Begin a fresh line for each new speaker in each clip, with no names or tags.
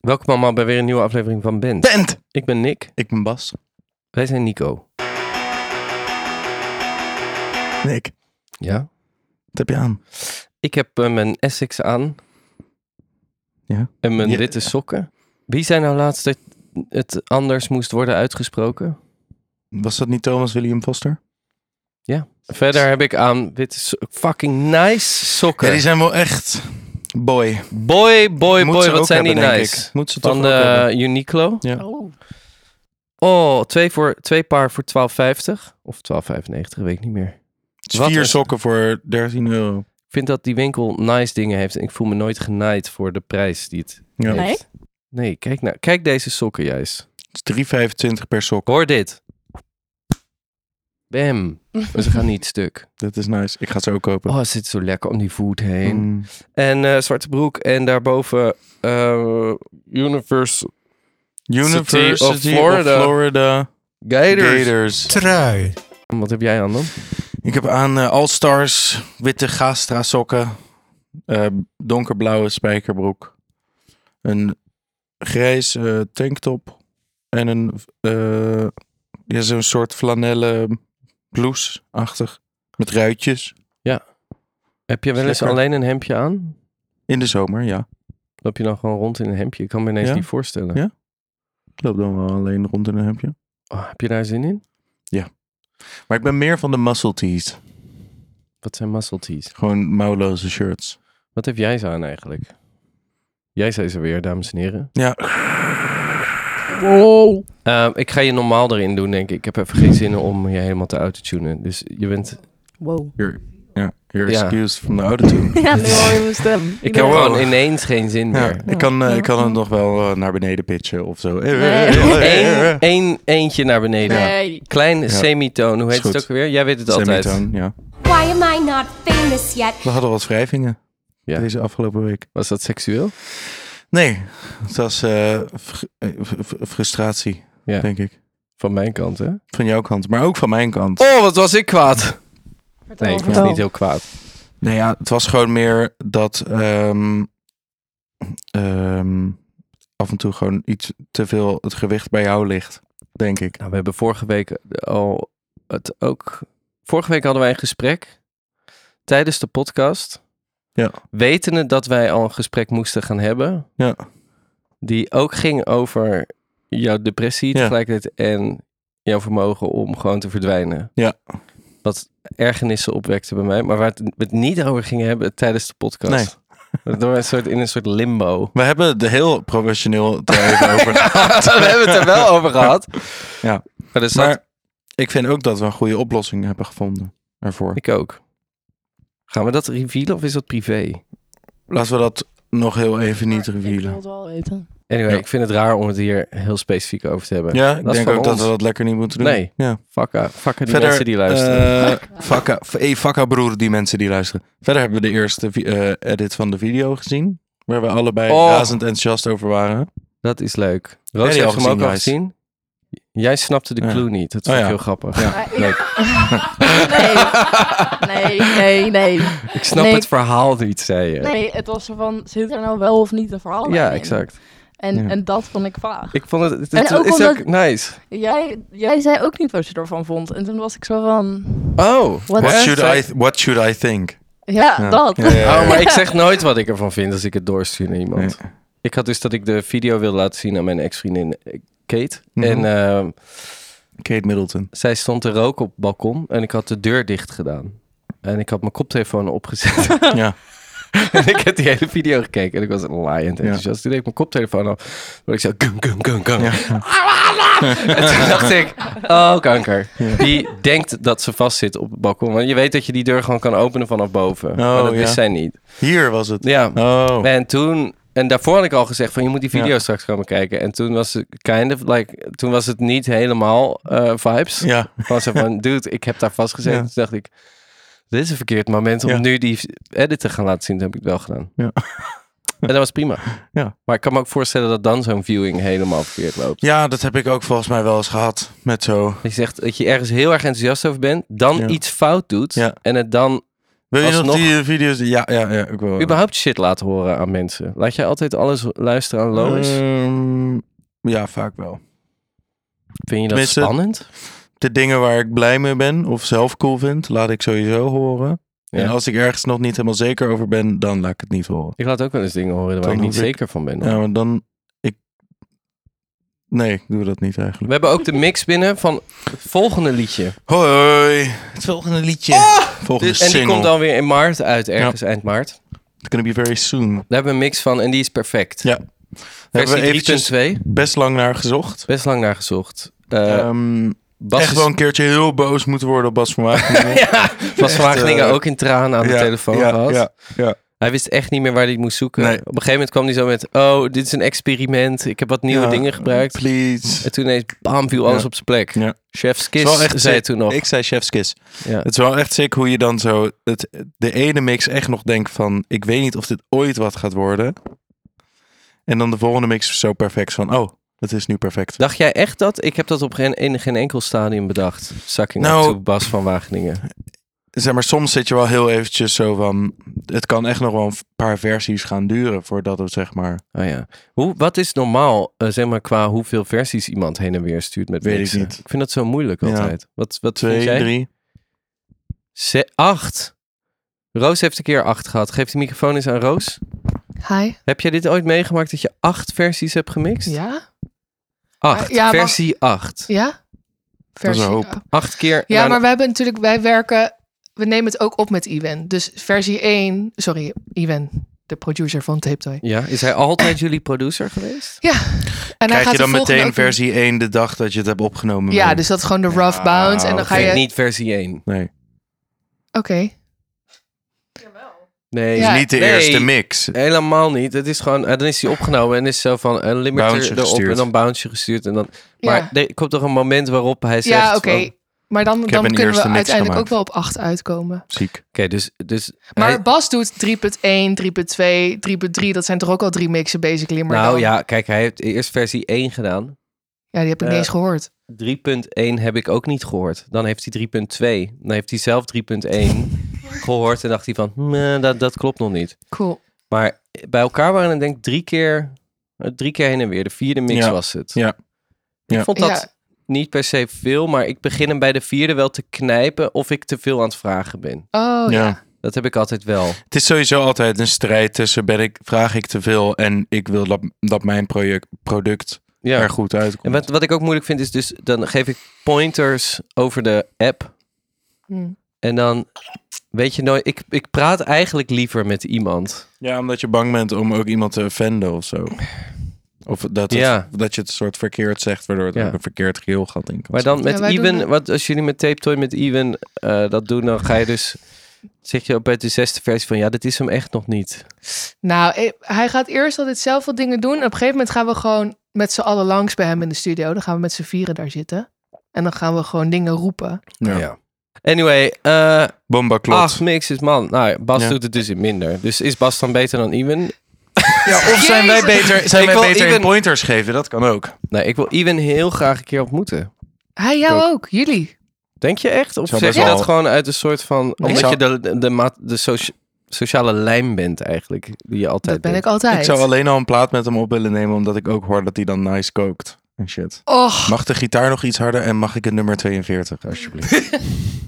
Welkom allemaal bij weer een nieuwe aflevering van Bent.
Tent!
Ik ben Nick,
Ik ben Bas.
wij zijn Nico.
Nick,
Ja?
wat heb je aan?
Ik heb eh, mijn Essex aan.
Ja.
En mijn
Ja.
witte sokken. Wie zei nou laatst dat het anders moest worden uitgesproken?
Was dat niet Thomas William Foster?
Verder heb ik aan witte so- fucking nice sokken.
Ja, die zijn wel echt boy.
Boy, boy,
Moet
boy,
ze
wat
ook
zijn
hebben,
die
denk
nice.
ik. Moet ze toch
Van
ook hebben.
de Uniqlo.
Ja.
Oh, twee, voor, twee paar voor 12,50. Of 12,95, weet ik niet meer.
Dus
wat
Vier
een-
sokken voor 13 euro.
Ik vind dat die winkel nice dingen heeft. En ik voel me nooit genaaid voor de prijs die het
Ja.
Nee?
heeft. Nee, kijk, nou, kijk deze sokken juist.
Het is 3,25 per sok.
Hoor dit. Bam. Maar ze gaan niet stuk.
Dat is nice. Ik ga ze ook kopen.
Oh, het zit zo lekker om die voet heen.
Mm.
En eh, zwarte broek. En daarboven eh Universal
University
of
of Florida.
Florida. Gators.
Gators.
Trui.
Wat heb jij aan dan?
Ik heb aan eh, All Stars witte gastra sokken. eh, donkerblauwe spijkerbroek. Een grijze eh, tanktop. En een eh, ja, zo'n soort flanellen blouse-achtig. Met ruitjes.
Heb je wel eens
Lekker.
alleen een hemdje aan?
In de zomer, ja.
Loop je dan gewoon rond in een hemdje? Ik kan me ineens
Ja.
niet voorstellen.
Ja. Ik loop dan wel alleen rond in een hemdje.
Oh, heb je daar zin in?
Maar ik ben meer van de muscle tees.
Wat zijn muscle tees?
Gewoon mouwloze shirts.
Wat heb jij ze aan eigenlijk? Jij zei ze weer, dames en heren.
Ja,
Wow.
Eh, ik ga je normaal erin doen, denk ik. Ik heb even geen zin om je helemaal te autotunen. Dus je bent...
Wow.
you're, ja, you're
Ja.
excused from the autotune.
Ja, nu hoor je mijn stem.
Ik heb
ben-
wel-
gewoon ineens geen zin
Ja,
meer.
ik kan, eh, ik kan
Ja.
het nog wel eh, naar beneden pitchen of zo.
Eén, één eentje naar beneden.
Nee.
Klein
Ja.
semitoon. Hoe
Is
heet het
goed.
ook weer? Jij weet het altijd.
Semitoon, ja.
Why am I not famous yet?
We hadden wat wrijvingen
Ja.
deze afgelopen week.
Was dat seksueel?
Nee, het was eh, fr- eh, fr- fr- frustratie,
Ja.
denk ik.
Van mijn kant, hè?
Van jouw kant, maar ook van mijn kant.
Oh, wat was ik kwaad.
Vertel,
Nee, ik was
Oh.
vertel.
niet heel kwaad.
Nee, Nou ja, het was gewoon meer dat ehm, ehm, af en toe gewoon iets te veel het gewicht bij jou ligt, denk ik.
Nou, we hebben vorige week al het ook. Vorige week hadden wij een gesprek tijdens de podcast.
Ja.
Wetende dat wij al een gesprek moesten gaan hebben.
Ja.
Die ook ging over jouw depressie
Ja.
tegelijkertijd en jouw vermogen om gewoon te verdwijnen.
Ja.
Wat ergernissen opwekte bij mij, maar waar het- we het niet over gingen hebben tijdens de podcast. Nee. Door een soort, in een soort limbo.
We hebben het heel professioneel het er even over gehad.
we hebben het er wel over gehad.
Ja.
Maar er zat
Maar ik vind ook dat we een goede oplossing hebben gevonden ervoor.
Ik ook. Gaan we dat revealen of is dat privé?
Laten we dat nog heel even niet
Ik wil
revealen.
het wel weten.
Anyway,
Ja.
ik vind het raar om het hier heel specifiek over te hebben.
Ja, ik
Dat is
denk
van
ook dat
ons.
we dat lekker niet moeten doen.
Nee.
Ja.
Fuck, eh, fuck die
Verder,
mensen die luisteren.
Eh, vakka, hey, vakka broer, die mensen die luisteren. Verder hebben we de eerste vi- eh, edit van de video gezien. Waar we allebei
Oh.
razend enthousiast over waren.
dat is leuk. Roos
die
heeft
al
hem ook
gezien,
al
guys.
gezien. Jij snapte de
Ja.
clue niet. Dat
Oh
vond ik
ja.
heel grappig.
Ja.
Maar ik-
Leuk.
Nee, nee, nee, nee.
Ik snap
Nee.
het verhaal niet, zei je.
Nee, het was zo van, zit er nou wel of niet een verhaal
ja,
in?
exact.
En,
Ja.
en dat vond ik vaag.
Ik vond het, het,
En
het
ook
is
omdat-
ook nice.
Jij, jij zei ook niet wat je ervan vond. En toen was ik zo van,
Oh.
What
What
Hè?
should, I, what should I think?
ja,
Ja.
dat.
Ja, ja, ja.
Oh, maar ik zeg nooit wat ik ervan vind als ik het doorstuur naar iemand.
Nee.
Ik had dus dat ik de video wilde laten zien aan mijn ex-vriendin eh, Kate.
Mhm.
En ehm,
Kate Middleton.
Zij stond te roken op het balkon en ik had de deur dicht gedaan. En ik had mijn koptelefoon opgezet.
ja.
en ik heb die hele video gekeken. En ik was laaiend enthousiast. Toen deed ik mijn koptelefoon op. Toen ik zo... Gung, gung, gung, gung.
Ja.
En toen dacht ik... Oh, kanker.
Ja.
Die denkt dat ze vastzit op het balkon. Want je weet dat je die deur gewoon kan openen vanaf boven. maar dat
Oh, ja.
wist zij niet.
Hier was het.
Ja.
Oh.
En toen... En daarvoor had ik al gezegd van je moet die video
Ja.
straks komen kijken. En toen was het kind of like, toen was het niet helemaal eh, vibes.
Ja.
Gewoon zo van, dude, ik heb daar vastgezeten.
Ja.
Toen dacht ik, dit is een verkeerd moment om
Ja.
nu die edit te gaan laten zien. Dat heb ik wel gedaan.
Ja.
En dat was prima.
Ja.
Maar ik kan me ook voorstellen dat dan zo'n viewing helemaal verkeerd loopt.
ja, dat heb ik ook volgens mij wel eens gehad. Met zo.
Dat je zegt dat je ergens heel erg enthousiast over bent, dan
Ja.
iets fout doet
Ja.
en het dan
Wil je nog
Alsnog-
die eh, video's? Ja, ja, ja. Ik wil.
Überhaupt shit laten horen aan mensen. Laat jij altijd alles luisteren aan Lois?
Ehm, ja, vaak wel.
Vind je dat
tenminste-
spannend?
De dingen waar ik blij mee ben of zelf cool vind, laat ik sowieso horen.
Ja.
En als ik ergens nog niet helemaal zeker over ben, dan laat ik het niet horen.
Ik laat ook wel eens dingen horen waar
Dan
ik niet
hoef ik-
zeker van ben.
Ja, maar dan... Ik... Nee, ik doe dat niet eigenlijk.
We hebben ook de mix binnen van het volgende liedje.
Hoi! Het volgende liedje.
Ah!
volgende
en
single.
die komt dan weer in maart uit, ergens eind maart.
It's gonna be very soon.
Daar hebben we een mix van en die is perfect.
Ja. Daar hebben
Versie
we eventjes
3.2,
best lang naar gezocht.
best lang naar gezocht. Eh
Ehm,
Bas,
echt wel een keertje heel boos moeten worden op Bas van Wageningen.
ja, Bas van Wageningen
eh,
ook in tranen aan de
Ja,
telefoon
ja,
gehad.
Ja, ja.
Hij wist echt niet meer waar hij het moest zoeken.
Nee.
Op een gegeven moment kwam hij zo met, oh, dit is een experiment. Ik heb wat nieuwe
Ja,
dingen gebruikt.
Please.
En toen ineens, bam, viel alles
Ja.
op zijn plek.
Ja.
Chef's
Het is
kiss,
wel echt
zei hij
sick.
toen nog.
Ik zei chef's kiss.
Ja.
Het is wel echt sick hoe je dan zo het, de ene mix echt nog denkt van... ik weet niet of dit ooit wat gaat worden. En dan de volgende mix zo perfect van... oh, het is nu perfect.
Dacht jij echt dat? Ik heb dat op geen, in geen enkel stadium bedacht. Sucking
Nou-
up to Bas van Wageningen.
Zeg maar, soms zit je wel heel eventjes zo van... het kan echt nog wel een paar versies gaan duren voordat het zeg maar...
Oh ja. Hoe, wat is normaal, eh, zeg maar, qua hoeveel versies iemand heen en weer stuurt met
Weet ik
mixen?
niet.
Ik vind dat zo moeilijk
Ja.
altijd. Wat, wat vind
twee,
jij?
drie...
Ze- acht. Roos heeft een keer acht gehad. Geef de microfoon eens aan Roos.
Hi.
Heb jij dit ooit meegemaakt dat je acht versies hebt gemixt?
Ja?
Acht.
Ja, maar-
Versie acht.
Ja?
is een
Versie.
hoop.
Ja,
Acht keer.
Ja,
nou,
maar wij hebben natuurlijk, wij werken, we nemen het ook op met Iwan. Dus versie 1, sorry, Iwan, de producer van Tape Toy.
ja, is hij altijd jullie producer geweest?
Ja. En
Krijg je dan
de volgende
meteen
ook doen.
versie 1 de dag dat je het hebt opgenomen?
Ja,
bent?
dus dat is gewoon de rough bounce. En dan
dat
ga
Nee,
je.
Niet versie één.
Nee,
Oké.
Nee.
Ja.
is niet de
Nee.
eerste mix.
Helemaal niet. Het is gewoon, eh, dan is hij opgenomen en is zo van een limiter
Bounce
erop
gestuurd.
en dan bounce gestuurd. En dan, maar
Ja,
er komt toch een moment waarop hij zegt... oh,
ja
van-
oké. Maar dan,
Ik heb
dan
een
kunnen we
eerste mix
uiteindelijk ook
gemaakt.
wel op 8 uitkomen.
Ziek.
Oké, dus, dus
Maar
hij-
Bas doet 3.1, 3.2, 3.3. Dat zijn toch ook al drie mixen, basically. Maar
nou
dan-
ja, kijk, hij heeft eerst versie 1 gedaan.
Ja, die heb ik
Eh,
niet eens gehoord.
3.1 heb ik ook niet gehoord. Dan heeft hij 3.2. Dan heeft hij zelf 3.1 gehoord en dacht hij van, "Meh, dat, dat klopt nog niet.
Cool.
Maar bij elkaar waren het denk ik drie keer, eh, drie keer heen en weer. De vierde mix
Ja.
was het.
Ja.
Ik
Ja.
vond dat niet per se veel, maar ik begin hem bij de vierde wel te knijpen of ik te veel aan het vragen ben.
Oh ja.
Ja.
Dat heb ik altijd wel.
Het is sowieso altijd een strijd tussen ben ik, vraag ik te veel en ik wil dat, dat mijn project, product
Ja.
er goed uitkomt.
En wat, wat ik ook moeilijk vind is dus, dan geef ik pointers over de app.
Hm.
En dan, weet je nooit, ik, ik praat eigenlijk liever met iemand.
Ja, omdat je bang bent om ook iemand te offenden of zo. Of dat, het-
Ja.
dat je het soort verkeerd zegt, waardoor het
Ja.
ook een verkeerd geheel gaat in. kan
Maar dan
zitten.
met
wij doen
Iwan,
dat.
wat als jullie met Tape Toy met Iwan eh, dat doen, dan ga je dus, zeg je ook bij de zesde versie van, ja, dit is hem echt nog niet.
Nou, eh, hij gaat eerst altijd zelf wat dingen doen. En op een gegeven moment gaan we gewoon met z'n allen langs bij hem in de studio. Dan gaan we met z'n vieren daar zitten. En dan gaan we gewoon dingen roepen.
Ja.
Anyway, eh
Bomba klopt.
acht mixes, man. Nou, ja, Bas
Ja.
doet het dus in minder. Dus is Bas dan beter dan Iwan?
Ja, of zijn wij
Jezus.
beter, zijn
Ik
wij
wil
beter in
even-
pointers geven? Dat kan ook.
Nee, ik wil Iwan heel graag een keer ontmoeten.
Hij, jou ook, jullie.
Denk je echt? Of zeg
Zou best
je dat
wel-
gewoon uit een soort van... Omdat
zou-
je de, de, de, ma- de socia- sociale lijm bent eigenlijk, die je altijd
Dat ben ik
bent.
altijd.
Ik zou alleen al een plaat met hem op willen nemen, omdat ik ook hoor dat hij dan nice kookt. En shit.
Och,
Mag de gitaar nog iets harder en mag ik het nummer 42, alsjeblieft?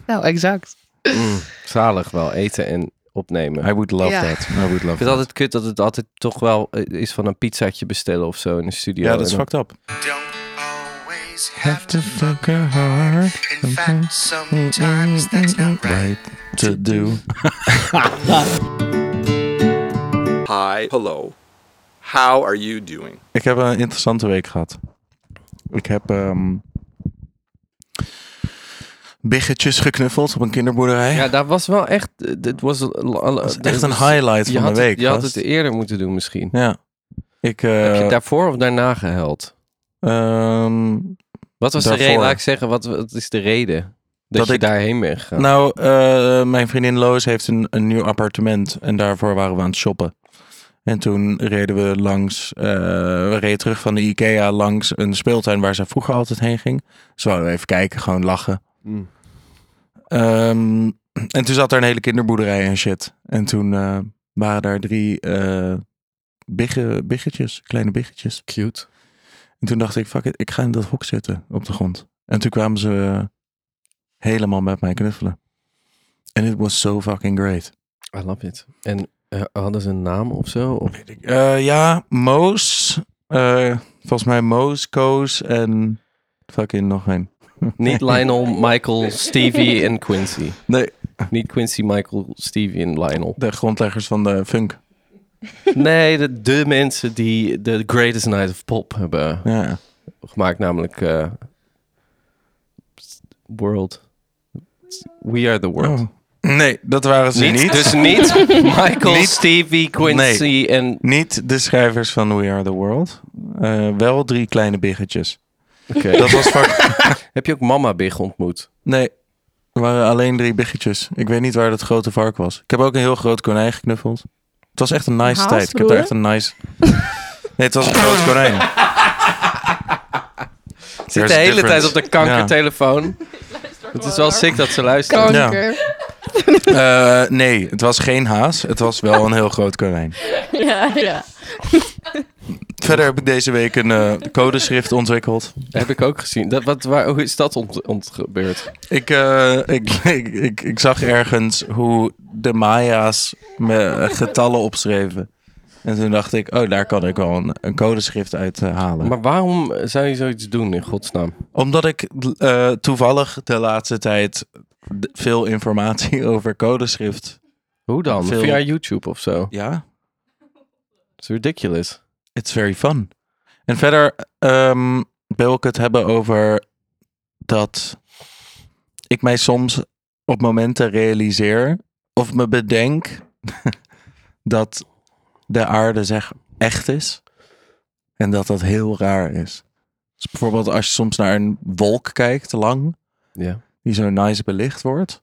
nou exact.
Mm, zalig wel, eten en opnemen.
I would love
Ja.
that. I would love
Ik vind het altijd kut dat het altijd toch wel eh, is van een pizzaatje bestellen of zo in de studio.
Ja, dat is
En dan-
fucked up.
Don't always have to fuck.
hard.
In fact, sometimes that's not right.
to do.
Hi, hello. How are you doing?
Ik heb een interessante week gehad. Ik heb ehm biggetjes geknuffeld op een kinderboerderij.
Ja, daar was wel echt... eh, Dit was,
dat is echt een highlight
je
van
had
de
het-
week.
je had
gast.
het eerder moeten doen misschien.
Ja. Ik, eh,
Heb je daarvoor of daarna gehuild?
ehm,
Wat was de
Daarvoor.
reden? Laat ik zeggen, wat, wat is de reden dat,
Dat
je
ik-
daarheen bent gegaan?
Nou, eh, mijn vriendin Loos heeft een, een nieuw appartement en daarvoor waren we aan het shoppen. En toen reden we langs, eh, we reden terug van de Ikea langs een speeltuin waar ze Dus vroeger altijd heen ging. Zo we even kijken, gewoon lachen.
Mm.
Ehm, En toen zat daar een hele kinderboerderij en shit. En toen eh, waren daar drie eh bigge, biggetjes, kleine biggetjes.
Cute.
En toen dacht ik, fuck it, ik ga in dat hok zitten op de grond. En toen kwamen ze eh, helemaal met mij knuffelen. En it was so fucking great.
I love it. En eh, hadden ze een naam of zo? Of-
Eh, ja, Moos. eh, volgens mij Moos, Koos en fucking nog een.
Niet Lionel, Michael, Stevie en Quincy.
Nee,
Niet Quincy, Michael, Stevie en Lionel.
de grondleggers van de funk.
Nee, de, de mensen die de Greatest Night of Pop hebben
Ja.
gemaakt, namelijk eh, World. We Are the World.
Oh. Nee, dat waren ze
Niet,
niet.
Dus niet Michael,
Niet-
Stevie, Quincy en...
Niet de schrijvers van We Are The World. Eh, wel drie kleine biggetjes.
Oké.
Dat was fuck...
Heb je ook Mama Big ontmoet?
Nee, er waren alleen drie biggetjes. Ik weet niet waar dat grote vark was. Ik heb ook een heel groot konijn geknuffeld. Het was echt een nice
Haas,
tijd. Ik heb
bedoel
daar
je?
echt een nice... Nee, het was een groot konijn.
Zit de hele tijd op de kankertelefoon. Het is wel sick dat ze luisteren.
Kanker.
Eh, nee, het was geen haas. Het was wel een heel groot konijn.
Ja, ja.
Verder heb ik deze week een eh, codeschrift ontwikkeld.
Heb ik ook gezien. Dat, wat, waar, hoe is dat ont, ontgebeurd?
Ik, eh, ik, ik, ik, ik zag ergens hoe de Maya's me getallen opschreven. En toen dacht ik, oh, daar kan ik wel een, een codeschrift uit eh, halen.
Maar waarom zou je zoiets doen, in godsnaam?
Omdat ik eh, toevallig de laatste tijd d- veel informatie over codeschrift...
Hoe dan?
Veel-
Via YouTube of zo?
Ja,
It's ridiculous.
It's very fun. En verder ehm, wil ik het hebben over dat ik mij soms op momenten realiseer of me bedenk dat de aarde zeg echt is en dat dat heel raar is. Dus bijvoorbeeld als je soms naar een wolk kijkt lang
Ja.
die zo nice belicht wordt.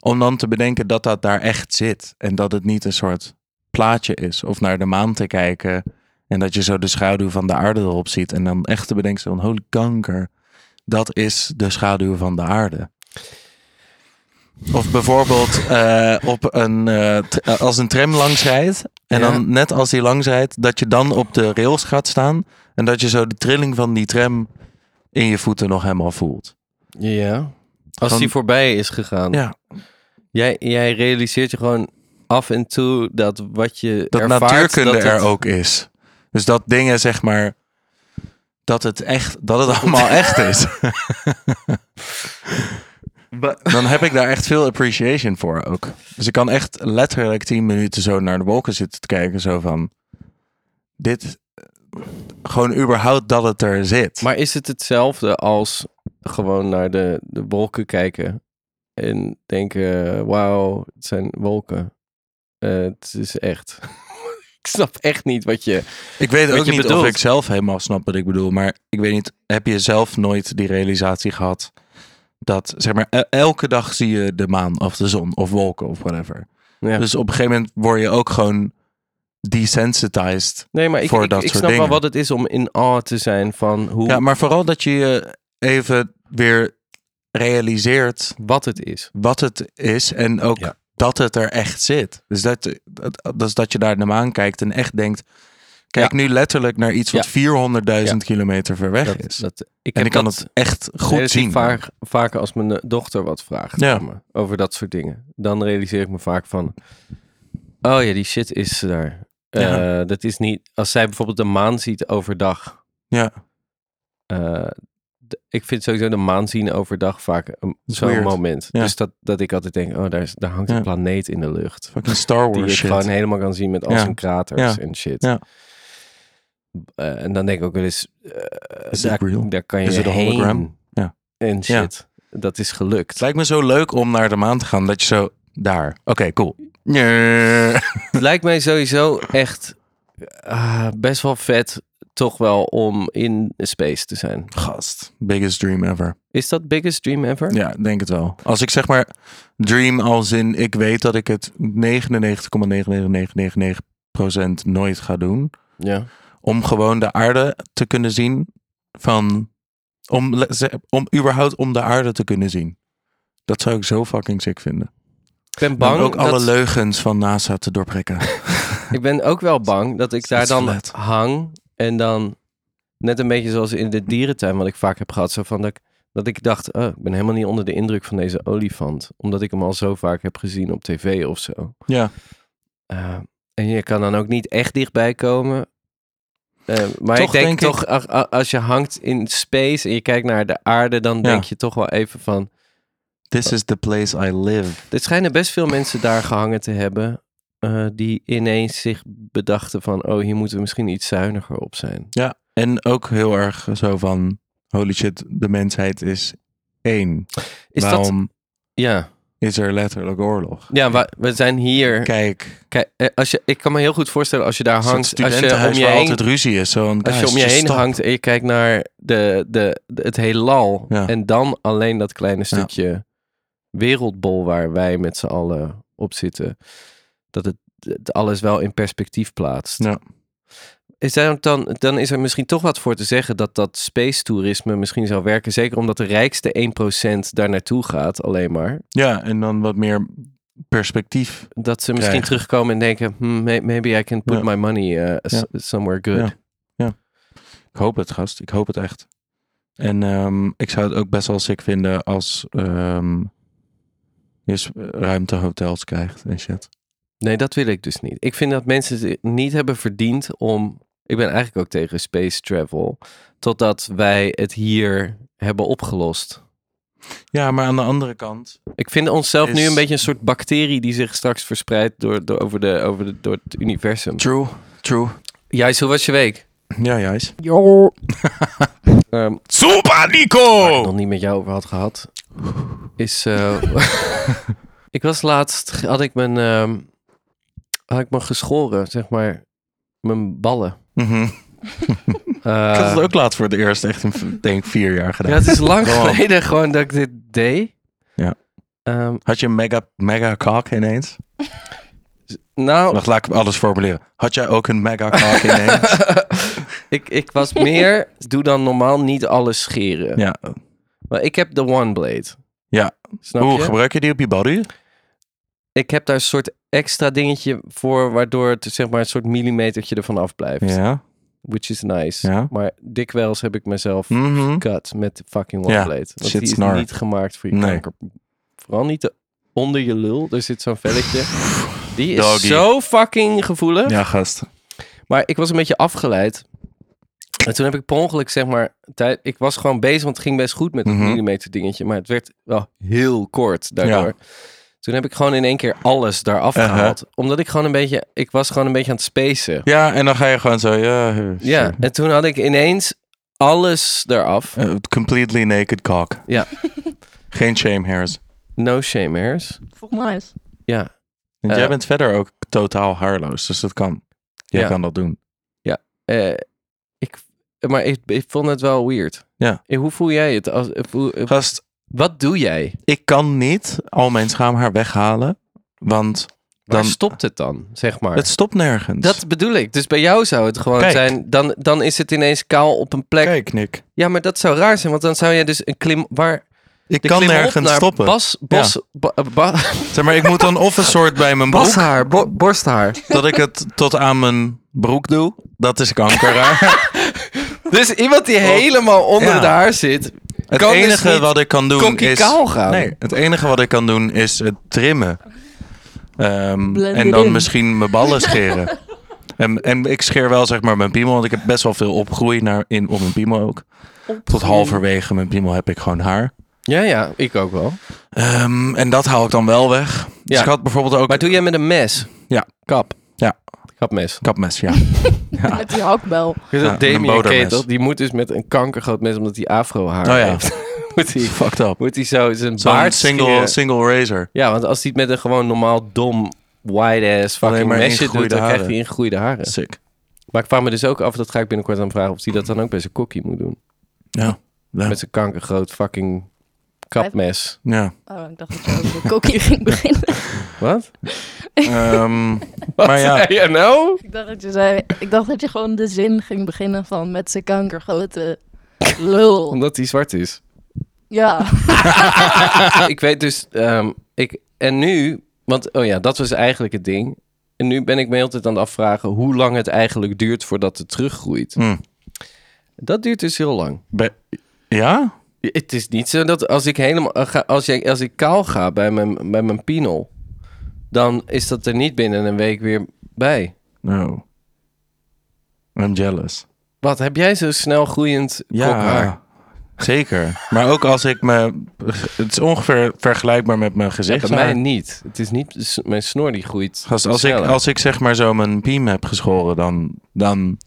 Om dan te bedenken dat dat daar echt zit. En dat het niet een soort plaatje is. Of naar de maan te kijken. En dat je zo de schaduw van de aarde erop ziet. En dan echt te bedenken van holy kanker. Dat is de schaduw van de aarde. Of bijvoorbeeld eh, op een, eh, tr- eh, als een tram langs rijdt. En
Ja.
dan net als die langs rijdt. Dat je dan op de rails gaat staan. En dat je zo de trilling van die tram in je voeten nog helemaal voelt.
Ja. Als
Gewoon-
die voorbij is gegaan.
Ja,
Jij, jij realiseert je gewoon af en toe dat wat je
dat
ervaart...
natuurkunde
dat
er
het-
ook is. Dus dat dingen zeg maar dat het echt dat het allemaal echt is. Dan heb ik daar echt veel appreciation voor ook. Dus ik kan echt letterlijk 10 minuten zo naar de wolken zitten te kijken zo van dit eh, gewoon überhaupt dat het er zit.
Maar is het hetzelfde als gewoon naar de, de wolken kijken en denken, wauw, het zijn wolken. Eh, het is echt. ik snap echt niet wat je...
Ik weet
Wat
ook
je
niet
bedoelt.
of ik zelf helemaal snap wat ik bedoel, maar ik weet niet, heb je zelf nooit die realisatie gehad dat, zeg maar, el- elke dag zie je de maan of de zon of wolken of whatever.
Ja.
Dus op een gegeven moment word je ook gewoon desensitized.
nee, maar ik,
voor
ik,
dat
ik
soort
snap wel
dingen.
wat het is om in awe te zijn van hoe,
Ja, maar vooral dat je je even weer realiseert
wat het is.
wat het is en ook
Ja.
dat het er echt zit. Dus dat, dat, dat is dat je daar naar de maan kijkt en echt denkt, kijk nu letterlijk naar iets wat 400.000 kilometer ver weg
Dat,
is.
dat, ik
en
heb
ik kan
dat
het echt goed
relatief
zien.
Vaak, vaker als mijn eh, dochter wat vraagt
Ja.
aan me over dat soort dingen. Dan realiseer ik me vaak van... Oh ja, die shit is daar. Eh,
Ja.
dat is niet... Als zij bijvoorbeeld de maan ziet overdag...
Ja,
eh, d- ik vind sowieso de maan zien overdag vaak een-
is
zo'n
weird.
moment.
Ja.
Dus dat, dat ik altijd denk, oh, daar, is, daar hangt
Ja.
een planeet in de lucht.
fucking Star
Die je
Wars shit.
gewoon helemaal kan zien met al
Ja.
zijn kraters
Ja.
en shit.
Ja.
Eh, en dan denk ik ook wel eens, eh,
Is it
daar,
real?
daar kan je
Is it a
heen.
hologram? Ja.
En
Ja.
shit, dat is gelukt.
Het lijkt me zo leuk om naar de maan te gaan dat je zo daar. Oké, cool. Ja.
Het lijkt mij sowieso echt ah, best wel vet toch wel om in space te zijn.
Gast, biggest dream ever.
Is dat biggest dream ever?
Ja, denk het wel. Als ik zeg maar dream als in ik weet dat ik het 99,99999% nooit ga doen,
Ja.
om gewoon de aarde te kunnen zien van om, le- ze- om überhaupt om de aarde te kunnen zien. Dat zou ik zo fucking sick vinden.
Ik ben
Bang
bang.
ook alle
dat-
leugens van NASA te doorprikken.
Ik ben ook wel bang dat ik daar
is
dan
flat.
hang en dan net een beetje zoals in de dierentuin wat ik vaak heb gehad, zo van dat ik, dat ik dacht, oh, ik ben helemaal niet onder de indruk van deze olifant, omdat ik hem al zo vaak heb gezien op tv of zo.
ja.
Eh, en je kan dan ook niet echt dichtbij komen. Eh, maar
Toch
ik denk,
denk ik-
toch, a- a- als je hangt in space en je kijkt naar de aarde, dan denk je toch wel even van.
This is the place I live.
Er schijnen best veel mensen daar gehangen te hebben. eh, die ineens zich bedachten van, oh, hier moeten we misschien iets zuiniger op zijn.
Ja. En ook heel erg zo van, holy shit, de mensheid is één.
Is dat...
Waarom
Ja,
is er letterlijk oorlog?
ja we, we zijn hier.
Kijk,
Kijk, eh, als je, ik kan me heel goed voorstellen als je daar
hangt,
hangt. Als je om
studentenhuis
je
waar
heen
altijd ruzie is. Zo'n
Als je om je heen hangt en je kijkt naar de, de, de- het heelal.
Ja.
En dan alleen dat kleine
Ja.
stukje wereldbol waar wij met z'n allen op zitten. Dat het, het alles wel in perspectief plaatst.
Ja.
Is daar dan, dan is er misschien toch wat voor te zeggen dat dat space toerisme misschien zou werken. Zeker omdat de rijkste 1% daar naartoe gaat alleen maar.
Ja, en dan wat meer perspectief.
Dat ze misschien
Krijgen.
terugkomen en denken, hmm, may- maybe I can put
Ja.
my money eh, s-
Ja.
somewhere good.
Ja. Ik hoop het, gast. Ik hoop het echt. En ehm, ik zou het ook best wel sick vinden als ehm je s- ruimtehotels krijgt en shit.
Nee, dat wil ik dus niet. Ik vind dat mensen het niet hebben verdiend om. Ik ben eigenlijk ook tegen space travel. Totdat wij het hier hebben opgelost.
Ja, maar aan de andere kant.
Ik vind onszelf nu
Is-
een beetje een soort bacterie die zich straks verspreidt door, door, over, de, over de, door het universum.
True, true.
Jij, zo was je week.
Ja, juist.
Ehm,
Super,
waar ik
Nico!
nog niet met jou over had gehad. Is. eh, ik was laatst. Had ik mijn. ehm, had ik me geschoren, zeg maar. Mijn ballen.
Mhm.
Eh,
ik had het ook laat voor het eerst, echt in, v- denk ik, vier jaar gedaan.
Ja, het is lang
Kom op.
geleden gewoon dat ik dit deed.
Ja.
Ehm,
Had je een mega, mega cock ineens?
nou,
Wacht, laat ik alles formuleren. Had jij ook een mega cock ineens?
ik, ik was meer... Doe dan normaal niet alles scheren.
ja.
Maar ik heb de One Blade.
Ja.
Snap
Hoe
je?
gebruik je die op je body?
Ik heb daar een soort extra dingetje voor... waardoor het zeg maar een soort millimetertje ervan afblijft.
Ja.
Which is nice.
Ja.
Maar dikwijls heb ik mezelf
Mhm.
cut met de fucking One
Ja,
Blade. Want
shit
die is
snar.
niet gemaakt voor je
Nee.
kanker. Vooral niet de- onder je lul. Er zit zo'n velletje. Die is
Doggy.
zo fucking gevoelig.
Ja, gast.
Maar ik was een beetje afgeleid. En toen heb ik per ongeluk, zeg maar, tijd, ik was gewoon bezig, want het ging best goed met het
Mhm.
millimeter dingetje. Maar het werd wel heel kort daardoor. Toen heb ik gewoon in één keer alles eraf
Uh-huh.
gehaald. Omdat ik gewoon een beetje, ik was gewoon een beetje aan het spacen.
Ja, en dan ga je gewoon zo, ja.
Ja, en toen had ik ineens alles eraf.
Eh, completely naked cock.
Ja.
Geen shame hairs.
No shame hairs.
Nice.
Ja,
Want
Eh.
jij bent verder ook totaal haarloos, dus dat kan. Jij
Ja.
kan dat doen.
eh, ik, maar ik, ik vond het wel weird.
Ja.
Eh, Hoe voel jij het? Als, eh, hoe- eh,
Gast,
wat doe jij?
ik kan niet al mijn schaamhaar weghalen, want
Dan
dan...
stopt het dan, zeg maar.
Het stopt nergens.
Dat bedoel ik. Dus bij jou zou het gewoon
Kijk.
zijn. Dan, dan is het ineens kaal op een plek.
Kijk, Nick.
Ja, maar dat zou raar zijn. Want dan zou jij dus een klim. Waar
Ik
de
kan
klimop
nergens
naar
stoppen.
Bas, bos, ba- eh, ba-
Zeg maar, ik moet dan of een soort bij mijn broek,
bashaar, bo- borsthaar.
dat ik het tot aan mijn broek doe. Dat is kankeraar.
Dus iemand die helemaal onder
Ja.
de haar zit.
Het
kan dus
enige
niet
wat ik kan doen
kokkie
is...
kaal gaan.
Nee, het enige wat ik kan doen is het trimmen. Ehm,
Blend
en
it
dan
in.
misschien mijn ballen scheren. en, en ik scheer wel zeg maar mijn piemel, want ik heb best wel veel opgroei naar, in, op mijn piemel ook. Tot halverwege mijn piemel heb ik gewoon haar.
Ja, ja, ik ook wel.
Ehm, en dat haal ik dan wel weg. Dus
Ja.
ik had bijvoorbeeld ook
Maar doe jij met een mes?
Ja.
Kap.
Ja.
Kapmes.
kapmes, ja.
Met die hakbel.
Dus
Ja,
dat
met een
Damien
botermes.
Ketel, die moet dus met een kankergroot mes, omdat hij afro haar
Oh ja.
heeft. moet hij
Fucked up.
moet hij zo zijn
Zo'n eh,
baard
single,
scheren.
single razor.
Ja, want als hij het met een gewoon normaal dom wide ass
Alleen
fucking
maar
mesje doet, dan
ingegroeide
krijgt hij
haren.
ingegroeide haren.
Sick.
Maar ik vraag me dus ook af, dat ga ik binnenkort aan vragen, of hij dat dan ook bij zijn kokkie moet doen.
Ja. Ja.
Met zijn kankergroot fucking kapmes.
ja.
Oh, ik dacht dat je over de kokkie ging beginnen.
Wat?
Ehm, maar ja,
Hey, you know?
Ik dacht, dat je zei, ik dacht dat je gewoon de zin ging beginnen van met zijn kankergrote lul.
Omdat hij zwart is.
Ja.
Ah.
ik weet dus, ehm, ik, en nu Want, oh ja, dat was eigenlijk het ding. En nu ben ik me altijd aan het afvragen hoe lang het eigenlijk duurt voordat het teruggroeit.
Hm.
Dat duurt dus heel lang.
Be- ja?
Het is niet zo dat als ik helemaal eh, ga- als, jij, als ik kaal ga bij mijn, bij mijn pinel, dan is dat er niet binnen een week weer bij.
No. I'm jealous.
Wat heb jij zo snel groeiend kophaar?
Ja, zeker. Maar ook als ik me... Het is ongeveer vergelijkbaar met mijn gezicht.
Bij mij niet. Het is niet s- mijn snor die groeit.
Als, als, ik,
sneller.
als ik zeg maar zo mijn piem heb geschoren, dan... dan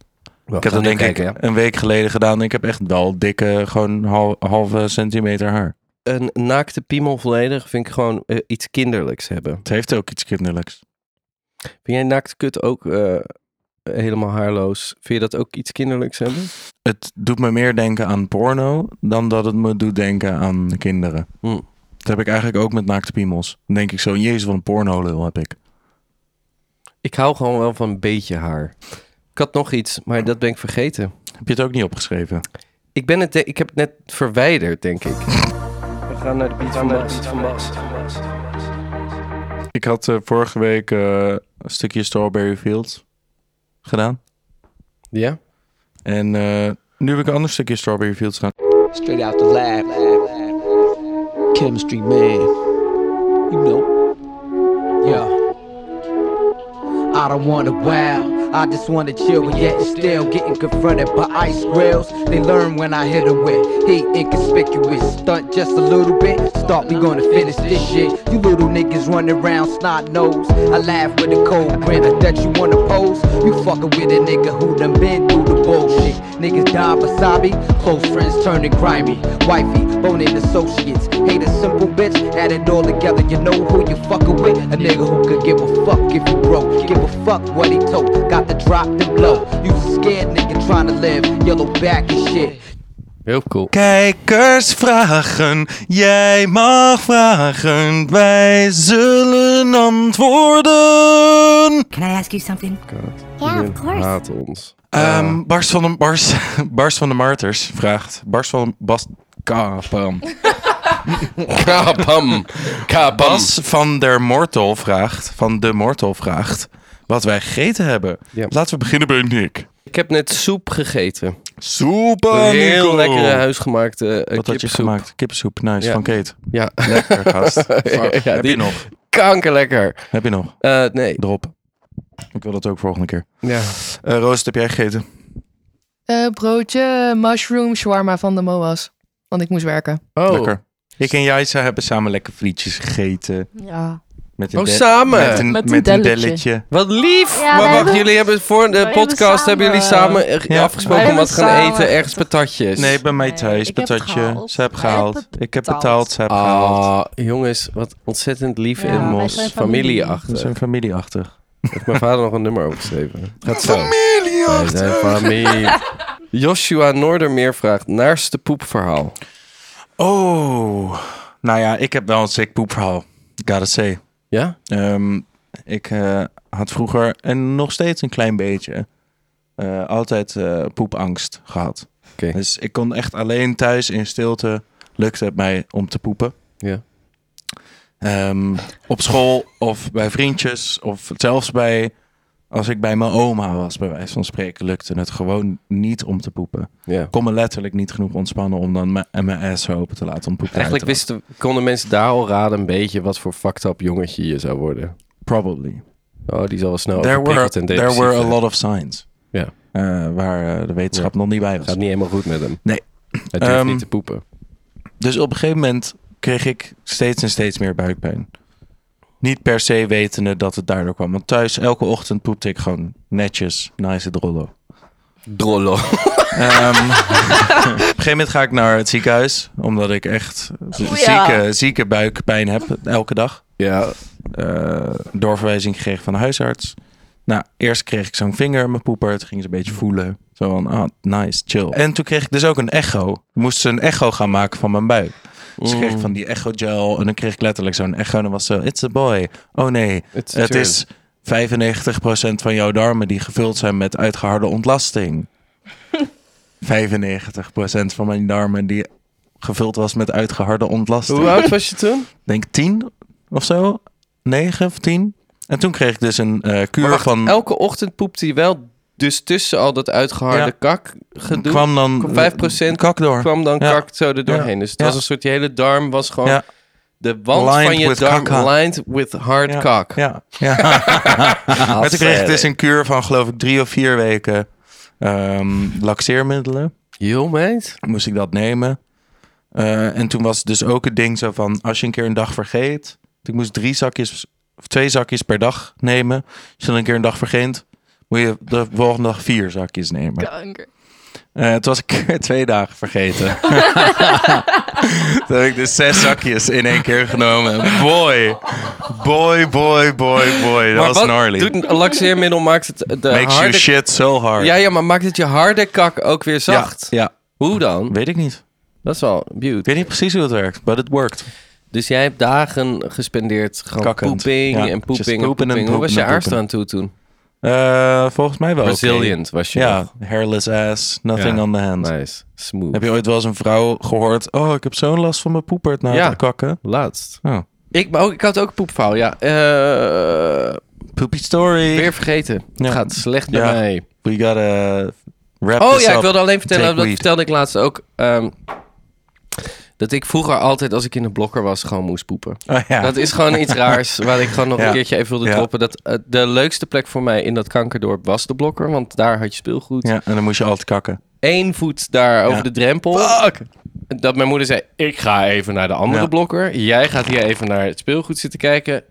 We
ik heb
gaan
dat denk
even
ik
kijken, ja.
een week geleden gedaan. Ik heb echt wel dikke, gewoon hal- halve centimeter haar.
een naakte piemel volledig vind ik gewoon eh, iets kinderlijks hebben.
Het heeft ook iets kinderlijks.
Vind jij naakt kut ook eh, helemaal haarloos? Vind je dat ook iets kinderlijks hebben?
Het doet me meer denken aan porno dan dat het me doet denken aan kinderen.
Hm.
Dat heb ik eigenlijk ook met naakte piemels. Dan denk ik zo, jezus, wat een pornolul heb ik.
Ik hou gewoon wel van een beetje haar. Ik had nog iets, maar dat ben ik vergeten.
Heb je het ook niet opgeschreven?
Ik, ben het, de- ik heb het net verwijderd, denk ik. We gaan naar de beat van Bas.
Ik had eh, vorige week eh, een stukje Strawberry Fields gedaan.
Ja?
En eh, nu heb ik een ander stukje Strawberry Fields gedaan.
Straight out the lab. Chemistry man. You know. Yeah. I don't wanna wow, I just wanna chill, but yet still getting confronted by ice rails. They learn when I hit 'em with heat inconspicuous. Stunt just a little bit, start we gonna finish this shit. You little niggas running around snot nose. I laugh with a cold grin, I bet you wanna pose. You fucking with a nigga who done been through the bullshit. Niggas die wasabi, close friends turning grimy. Wifey, boning associates, hate a simple bitch. Add it all together, you know who you fucking with. A nigga who could give a fuck if you broke. Give a fuck what he told, got the drop to blow. You scared nigga trying to live, yellow back and shit.
Heel cool.
Kijkers vragen, jij mag vragen, wij zullen antwoorden.
Can I ask you something?
Yeah, of
Iedereen
course.
haat ons.
Ehm Barst, van de, Barst, Barst van de Marters vraagt, Barst van de, Bas, Kapam.
Kabam! Kabam!
Bas van der Mortel vraagt, van de Mortel vraagt, wat wij gegeten hebben.
Ja.
Laten we beginnen bij Nick.
Ik heb net soep gegeten.
Super,
heel
Nico.
lekkere huisgemaakte eh,
Oh, Wat had je
kipsoep.
gemaakt? Kippensoep, nice,
Ja.
van Kate.
Ja,
Lekker, gast. Fuck,
Ja,
heb
die-
je nog?
kankerlekker.
Heb je nog?
Eh, nee.
Drop. Ik wil dat ook volgende keer.
Ja.
Eh Roos, wat heb jij gegeten?
Eh, broodje, mushroom, shawarma van de Moas. Want ik moest werken.
Oh,
Lekker. Ik en Jaisa hebben samen lekker frietjes gegeten.
Ja.
Met
oh
de-
samen!
Met een,
Met
met
een
een
delletje.
delletje.
Wat lief!
Ja,
maar
wij
wacht,
hebben-
jullie hebben voor de
wij
podcast hebben jullie
hebben
samen
samen-
eh,
Ja.
afgesproken
Wij
om wat te
hebben
gaan
samen
eten, ergens
echt-
patatjes.
Nee, bij mij
Nee,
thuis.
ik heb
patatje.
gehaald.
Ze hebben
Hij heeft
gehaald. Ik heb
betaald.
betaald. Ze hebben gehaald.
Ah, jongens, wat ontzettend lief
Ja,
en
wij
mos.
zijn
We
familieachtig.
zijn familieachtig.
Heeft mijn vader nog een nummer opgeschreven? Het gaat zo. Wij
Familieachtig!
zijn familie. Joshua Noordermeer vraagt naarste poepverhaal.
Oh. Nou ja, ik heb wel een sick poepverhaal. Gotta say.
Ja?
Ehm, ik eh, had vroeger, en nog steeds een klein beetje, eh, altijd eh, poepangst gehad.
Oké.
Dus ik kon echt alleen thuis in stilte, lukte het mij om te poepen.
Ja.
Ehm, op school of bij vriendjes of zelfs bij, als ik bij mijn oma was, bij wijze van spreken, lukte het gewoon niet om te poepen.
Ja.
Ik kon me letterlijk niet genoeg ontspannen om dan mijn- mijn ass open te laten om poepen. uit
Eigenlijk
te laten.
wisten, konden mensen daar al raden een beetje wat voor fucked up jongetje je zou worden.
Probably.
Oh, die zal wel snel
there were,
overprikkeld en
there
depressief
were a
zijn.
lot of signs.
Ja.
Eh, waar eh, de wetenschap nog niet bij was.
Gaat niet helemaal goed met hem.
Nee.
Hij durft
Ehm,
niet te poepen.
Dus op een gegeven moment kreeg ik steeds en steeds meer buikpijn. Niet per se wetende dat het daardoor kwam. Want thuis, elke ochtend poepte ik gewoon netjes, nice drollo.
Drollo.
Ehm, op een gegeven moment ga ik naar het ziekenhuis. Omdat ik echt
Ja.
zieke, zieke buikpijn heb elke dag.
Ja.
eh, doorverwijzing gekregen van de huisarts. Nou, eerst kreeg ik zo'n vinger in mijn poeper. Toen ging ze een beetje voelen. Zo van, ah, nice, chill. En toen kreeg ik dus ook een echo. Moest ze een echo gaan maken van mijn buik. Dus ik kreeg ik van die echo gel. En dan kreeg ik letterlijk zo'n echo. En dan was zo, it's a boy. Oh nee,
It's a
het
turd.
is 95% van jouw darmen die gevuld zijn met uitgeharde ontlasting. 95% van mijn darmen die gevuld was met uitgeharde ontlasting.
Hoe oud was je toen?
Ik denk tien of zo. negen of tien. En toen kreeg ik dus een eh, kuur
Maar wacht,
van...
Elke ochtend poept hij wel. Dus tussen al dat uitgeharde
Ja.
kak gedoe kwam,
kwam dan
kwam 5%
kak door.
dan
Ja.
kak zo er doorheen. Dus het
Ja.
was een soort, je hele darm was gewoon...
Ja.
De wand
Lined
van je
with
darm
kakka.
lined with hard
Ja.
kak.
Ja. ja. maar toen kreeg ik dus een kuur van geloof ik drie of vier weken ehm, laxeermiddelen.
Yo, meid.
Moest ik dat nemen. Eh, en toen was het dus ook het ding zo van als je een keer een dag vergeet. Ik moest drie zakjes of twee zakjes per dag nemen. Als je dan een keer een dag vergeet, moet je de volgende dag vier zakjes nemen.
Kanker.
Eh toen was ik een keer twee dagen vergeten. toen heb ik dus zes zakjes in één keer genomen. Boy, boy, boy, boy, boy. Dat was gnarly.
doet een laxeermiddel? Maakt het eh, de
Makes
harde...
your shit so hard.
Ja, ja, maar maakt het je harde kak ook weer zacht?
Ja, ja.
Hoe dan?
weet ik niet.
Dat is wel
Ik
beauty.
weet niet precies hoe het werkt, but it worked.
Dus jij hebt dagen gespendeerd gewoon
Kakkend.
poeping
Ja.
en
Just
poeping en
poepen en
poeping. Hoe was je
poepen en poepen.
aarstand toe toen?
Eh, volgens mij wel. oké.
Resilient was je
Ja,
nog.
hairless ass, nothing
Ja.
on the hand.
Nice. Smooth.
Heb je ooit wel eens een vrouw gehoord? Oh, ik heb zo'n last van mijn poepert na
Ja.
het kakken.
Laatst.
Oh.
Ik, maar ook, ik had ook een poepverhaal, ja. Eh,
Poopy story.
weer vergeten.
Ja.
Het gaat slecht bij
Ja.
mij.
We gotta wrap
Oh
this
ja, ik
up.
wilde alleen vertellen,
Take
dat
weed.
vertelde ik laatst ook... ehm, dat ik vroeger altijd, als ik in de blokker was, gewoon moest poepen.
Oh, ja.
Dat is gewoon iets raars waar ik gewoon nog
Ja.
een keertje even wilde
Ja.
droppen. Dat, eh, de leukste plek voor mij in dat kankerdorp was de blokker, want daar had je speelgoed.
ja, en dan moest je altijd kakken.
Eén voet daar over
Ja.
de drempel. Dat mijn moeder zei, ik ga even naar de andere
Ja.
blokker. Jij gaat hier even naar het speelgoed zitten kijken.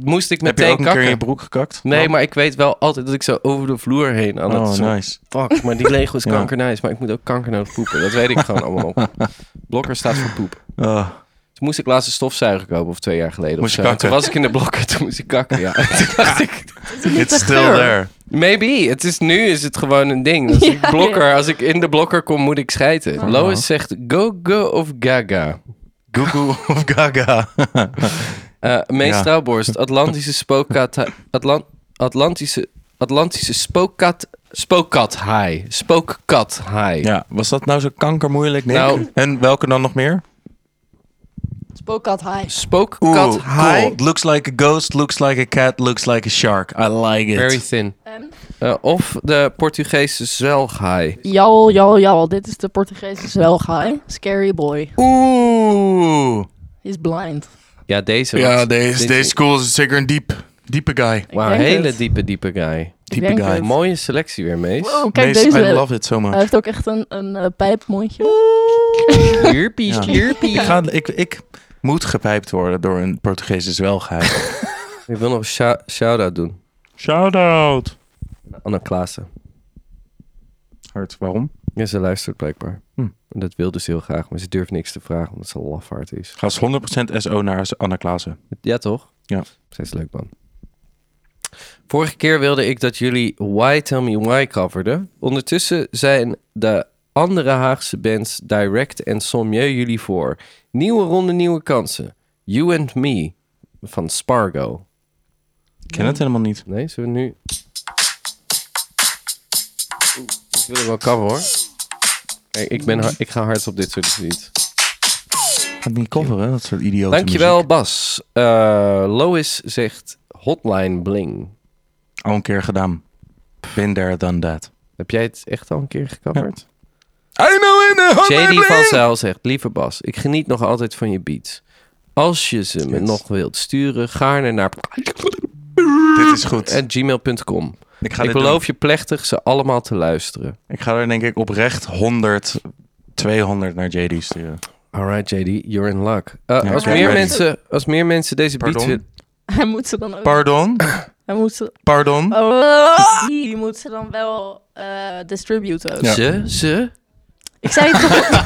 Moest ik
Heb je
meteen
ook een keer
kakken.
in je broek gekakt?
Nee, maar ik weet wel altijd dat ik zo over de vloer heen aan het
Oh,
zo-
nice.
Fuck, maar die Lego is
Ja.
kankernijs, maar ik moet ook kankernood poepen. Dat weet ik gewoon allemaal op. Blokker staat voor poep.
Oh.
Toen moest ik laatst een stofzuiger kopen, of twee jaar geleden.
Moest je
of zo. En
kakken?
Toen was ik in de blokker, toen moest ik kakken, ja. Toen dacht ik,
It's still there.
maybe. Het is, nu is het gewoon een ding. Als, ik blokker, als ik in de blokker kom, moet ik schijten.
Oh.
Lois zegt go, go of gaga.
Google of Gaga.
Eh Mees
Ja.
Trouwborst, Atlantische spookkat... Atlant, Atlantische, Atlantische spookkat... Spookkat high. Spookkat high.
ja, was dat nou zo kankermoeilijk, Nick?
Nou-
En welke dan nog meer?
Spookkat high.
Spookkat high.
cool. Looks like a ghost, looks like a cat, looks like a shark. I like it.
Very thin.
Ehm.
Eh, of de Portugese zwelghai.
Jal, jal, jal. Dit is de Portugese zwelga, hè? Scary boy.
Oeh.
He's blind.
Ja, deze.
Ja,
was-
deze, deze school is zeker een diep, diepe guy.
Ik
Wauw,
denk
hele
het.
diepe, diepe guy.
Diepe
denk
guy.
het.
Mooie selectie weer, Mees.
Wow, kijk
Mees,
deze. Eh,
I love it so
Hij
much.
heeft ook echt een, een eh, pijpmondje.
Slurpie,
Ja.
slurpie.
Ik, ga, ik, ik moet gepijpt worden door een Portugese zwelgeheid.
Ik wil nog een shou- shout-out doen.
Shout-out.
Anna Klaassen.
Hart, waarom?
Ja, ze luistert blijkbaar.
Hm.
En Dat wil dus heel graag, maar ze durft niks te vragen omdat ze een lafaard is.
Ga eens 100% SO naar Anna Klaassen.
Ja, toch?
Ja.
Zij is leuk, man. Vorige keer wilde ik dat jullie Why Tell Me Why coverden. Ondertussen zijn de andere Haagse bands Direct en Sommieu jullie voor. Nieuwe ronde, nieuwe kansen. You and Me van Spargo.
Ik ken het helemaal niet.
Nee, zullen we nu... Oeh, ik wil hem wel cover, hoor. Kijk, ik, ben ha- ik ga hard op dit soort lied.
Gaat niet coveren, dat soort idioten.
Dankjewel, Bas. Eh, Lois zegt Hotline Bling.
Al een keer gedaan. Been there, done that.
Heb jij het echt al een keer gecoverd?
I know in the
JD van Zijl zegt, lieve Bas, ik geniet nog altijd van je beats. Als je ze me
Yes.
nog wilt sturen, gaarne naar
Dit is goed.
gmail.com.
ik ga
Ik
dit
beloof je plechtig ze allemaal te luisteren.
doen. Ik ga er denk ik oprecht 100, 200 naar JD sturen.
Alright JD, you're in luck. Eh,
Ja,
als,
ik
meer
ben
mensen, als meer mensen deze beats...
Pardon?
willen-
Hij moet ze dan ook...
Pardon,
Hij moet ze...
pardon.
Oh, die die moet ze dan wel eh distributen ook.
Ja.
Ze, ze...
Ik zei het toch...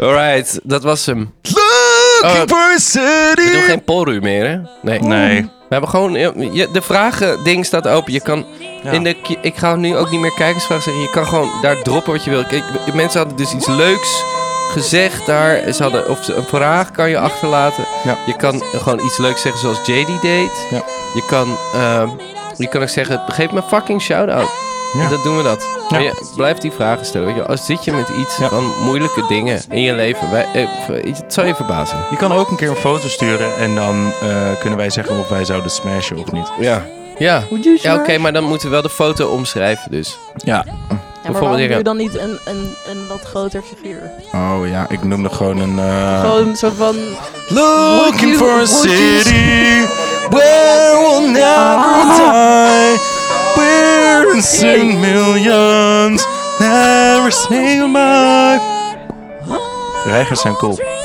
Alright, dat was hem.
Looking for a city.
We doen Oh. geen polru meer, hè? Nee.
Nee.
We hebben gewoon... eh, je- de vragen ding staat open. Je kan... In de, ki- ik ga nu ook niet meer kijkersvragen zeggen. Je kan gewoon daar droppen wat je wil. Kijk, mensen hadden dus iets leuks gezegd daar. Ze hadden, of ze- een vraag kan je achterlaten.
Ja.
Je kan gewoon iets leuks zeggen zoals JD deed.
Ja.
Je kan... ehm, je kan ook zeggen, geef me een fucking shout-out.
Ja.
En dat doen we dat.
Ja.
Maar je blijft die vragen stellen. Weet je. wel. Als zit je met iets
Ja.
van moeilijke dingen in je leven, wij, eh, v- het zou je verbazen.
Je kan ook een keer een foto sturen en dan eh, kunnen wij zeggen of wij zouden smashen of niet.
Ja. Ja,
you
ja oké, maar dan moeten we wel de foto omschrijven dus.
Ja.
Ja, maar
Bijvoorbeeld
waarom doe je
zeggen-
dan niet een, een, een wat groter figuur?
Oh ja, ik noemde gewoon een... eh,
Gewoon zo van...
Looking
Would you-
for a
would you- Ah.
city where we'll never die. We're in sing millions, never say goodbye. Reigers zijn cool.